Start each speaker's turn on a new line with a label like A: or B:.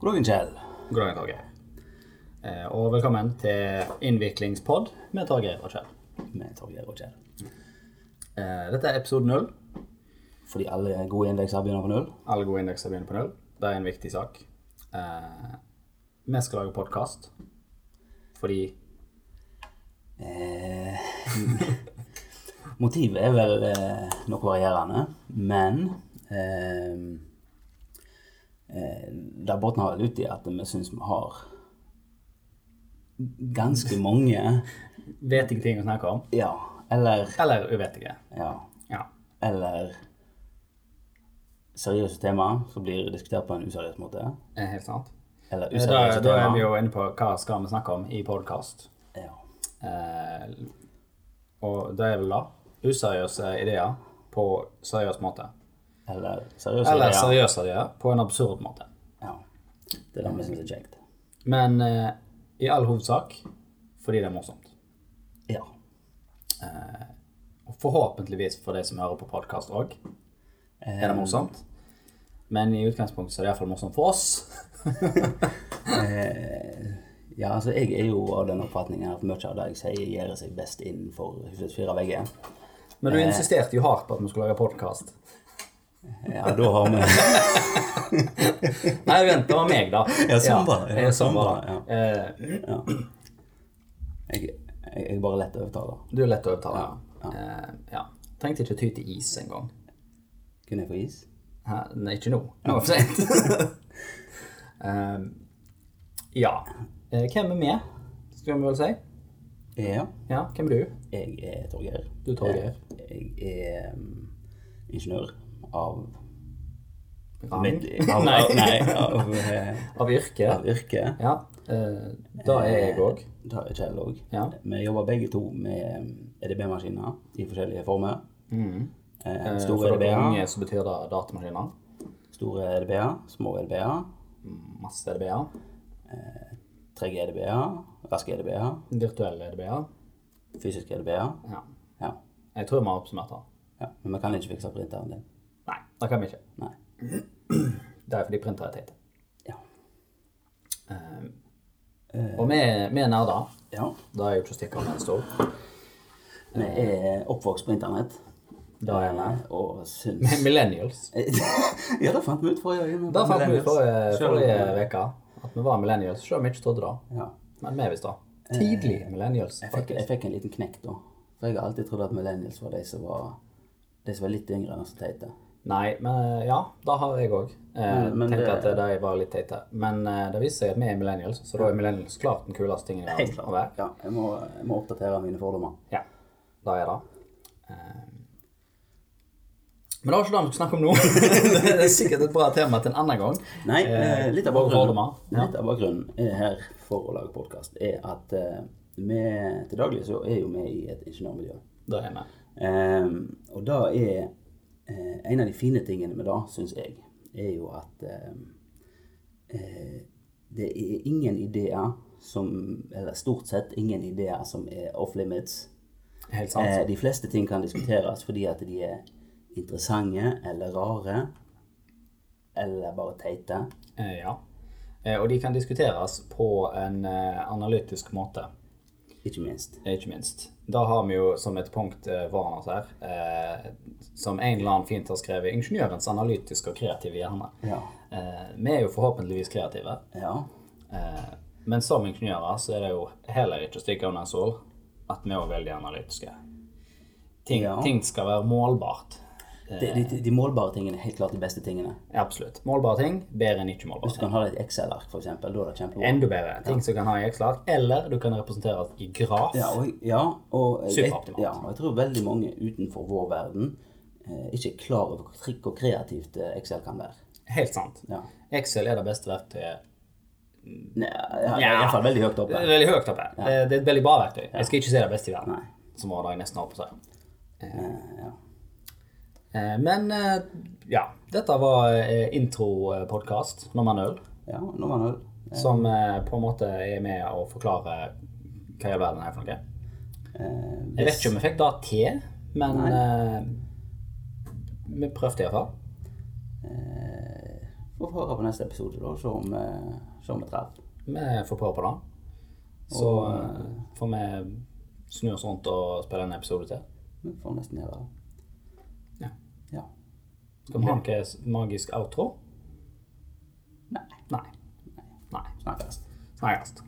A: Grogen Kjell.
B: God dag, Torgeir. Eh, Og velkommen til innviklingspod med Torgeir og Kjell.
A: Med Torgeir og Kjell.
B: Eh, Dette er episode null.
A: Fordi alle gode indekser begynner på null.
B: Alle gode indekser begynner på null. Det er en viktig sak. Eh, Vi skal lage podkast fordi
A: Eh, motivet er vel eh, noe varierende, men eh, eh, det bunnen har vel ut i at vi syns vi har ganske mange
B: vet ikke ting å snakke om.
A: Ja, eller
B: Eller uvetige.
A: Ja.
B: Ja.
A: Eller seriøse tema som blir diskutert på en useriøs måte.
B: eh, Helt sant.
A: Eller
B: Eh, Da,
A: useriøse
B: da er
A: tema.
B: vi jo inne på hva skal vi snakke om i podkast.
A: Ja.
B: Og det er vel da useriøse ideer på seriøs måte.
A: Eller seriøse
B: Eller
A: ideer.
B: seriøse ideer på en absurd måte.
A: Ja. Det er det vi syns er kjekt.
B: Men eh, i all hovedsak fordi det er morsomt.
A: Ja.
B: Og forhåpentligvis for de som hører på podkast òg,
A: Mm.
B: er det morsomt. Men i utgangspunktet så er det iallfall morsomt for oss.
A: ja, altså jeg er jo av den oppfatningen at mye av det jeg sier, gjør seg best innenfor husets fire vegger.
B: Men
A: Eh.
B: du insisterte jo hardt på at vi skulle lage podkast.
A: Ja, da har vi
B: Nei, vent, det var meg, da.
A: Ja, sånn var det. Ja,
B: eh, sånn
A: sånn
B: var
A: var
B: det. Eh,
A: Jeg, jeg er bare lett overtaler.
B: Du er lett å overtale. Eh, ja. Trengte ikke ty til is engang.
A: Kunne jeg få is?
B: Hæ? Nei, ikke nå. Nå er det for sent. um, ja. Eh, hvem er med, skal vi vel si?
A: Ja.
B: Ja, hvem er du?
A: Jeg er Torgeir. Eh,
B: Du er Torgeir.
A: Jeg er mm, ingeniør av
B: Rang?
A: mitt av,
B: Nei.
A: av, nei, av, eh,
B: Av yrke?
A: av yrke.
B: Ja. eh, da er jeg òg.
A: Det er Kjell òg.
B: Ja.
A: Vi jobber begge to med mm, EDB-maskiner i forskjellige former. Eh, store
B: For dere
A: EDB-er,
B: unge så betyr det datamaskiner.
A: store EDB-er, små EDB-er,
B: Masse EDB-er.
A: trege EDB-er, raske EDB-er,
B: Virtuelle EDB-er.
A: fysiske EDB-er.
B: Ja.
A: Ja.
B: Jeg tror vi har oppsummert det.
A: ja. Men vi kan ikke fikse printeren din.
B: Nei, det kan vi ikke.
A: Nei.
B: Det er fordi printer er teit.
A: Ja.
B: Og vi, vi er nerder.
A: ja.
B: Det er jo ikke å stikke under en stol.
A: Vi er oppvokst på internett.
B: Det er vi.
A: Og syns
B: Millennials.
A: Ja, det fant vi ut forrige gang.
B: Da fant vi ut forrige
A: Selv om-
B: forrige uke at vi var millennials, selv om vi ikke trodde det.
A: Ja.
B: Men vi visste det. Tidlig millennials,
A: Eh. Jeg fikk,
B: faktisk.
A: jeg fikk en liten knekk da. For jeg har alltid trodd at millennials var de som var, de som var litt yngre enn oss teite.
B: Nei, men eh, ja, da har jeg òg. Eh,
A: Men- Mm, men
B: tenkte
A: det-
B: at de var litt teite. Men eh, det viser seg at vi er millennials, så da er millennials klart den kuleste tingen i verden å være.
A: Ja, jeg må, jeg må oppdatere mine fordommer.
B: Ja, da er det. Eh, men det var ikke det vi skulle snakke om nå. det er sikkert et bra tema til en annen gang.
A: Nei, eh, litt av
B: og
A: bakgrunnen,
B: fordommer, ja.
A: litt av bakgrunnen er her for å lage podkast, er at eh, vi til daglig så er jo vi i et ingeniørmiljø.
B: Da er vi.
A: Ehm, og da er eh, En av de fine tingene med det, syns jeg, er jo at ehm, eh, det er ingen ideer som Eller stort sett ingen ideer som er off limits.
B: Helt sant.
A: Eh, de fleste ting kan diskuteres fordi at de er interessante eller rare. Eller bare teite.
B: Eh, ja. Eh, og de kan diskuteres på en eh, analytisk måte.
A: Ikke minst.
B: Eh, Ikke minst. Da har vi jo som et punkt eh, Varnas her, eh, som en eller annen fint har skrevet 'Ingeniørens analytiske og kreative hjerne'.
A: Ja.
B: Eh, vi er jo forhåpentligvis kreative,
A: Ja.
B: eh, men som ingeniører så er det jo heller ikke å stikke under en stol at vi er også veldig analytiske. Ting,
A: Ja.
B: ting skal være målbart. Eh.
A: De, de, de målbare tingene er helt klart de beste tingene.
B: Absolutt. Målbare ting bedre enn ikke målbare.
A: Hvis du kan ha et Excel-ark, f.eks., da er det kjempebra.
B: Enda bedre. Ting som kan ha i Excel-ark, eller du kan representere det i graf.
A: Ja, og, ja, og jeg,
B: Superoptimalt.
A: ja, og jeg tror veldig mange utenfor vår verden eh, ikke er klar over hvor trikk og kreativt eh, Excel kan være.
B: Helt sant.
A: Ja.
B: Excel er det beste verktøyet
A: Nei, ja, det er I hvert fall veldig høyt oppe.
B: Det er veldig høyt oppe. Det, det er et veldig bra verktøy. Jeg skal ikke si det er best i verden.
A: Nei.
B: Som var det jeg nesten har på seg.
A: Eh, ja.
B: Eh, Men eh, ja, dette var eh, intro-podkast nummer null,
A: ja, nå var det
B: som eh, på en måte er med å forklare hva i all verden er for noe.
A: eh,
B: Jeg vet ikke om vi fikk det til, men eh, vi prøvde iallfall.
A: får høre på neste episode, da, og se om, eh, se om vi treffer.
B: Vi får prøve på det. Så eh, får vi snu oss rundt og spille en episode til.
A: Vi får nesten gjøre det.
B: Ja.
A: Ja.
B: Skal vi ha noe s- magisk outro?
A: Nei.
B: Nei. altså. Nei.
A: Snakkes.
B: Snakkes.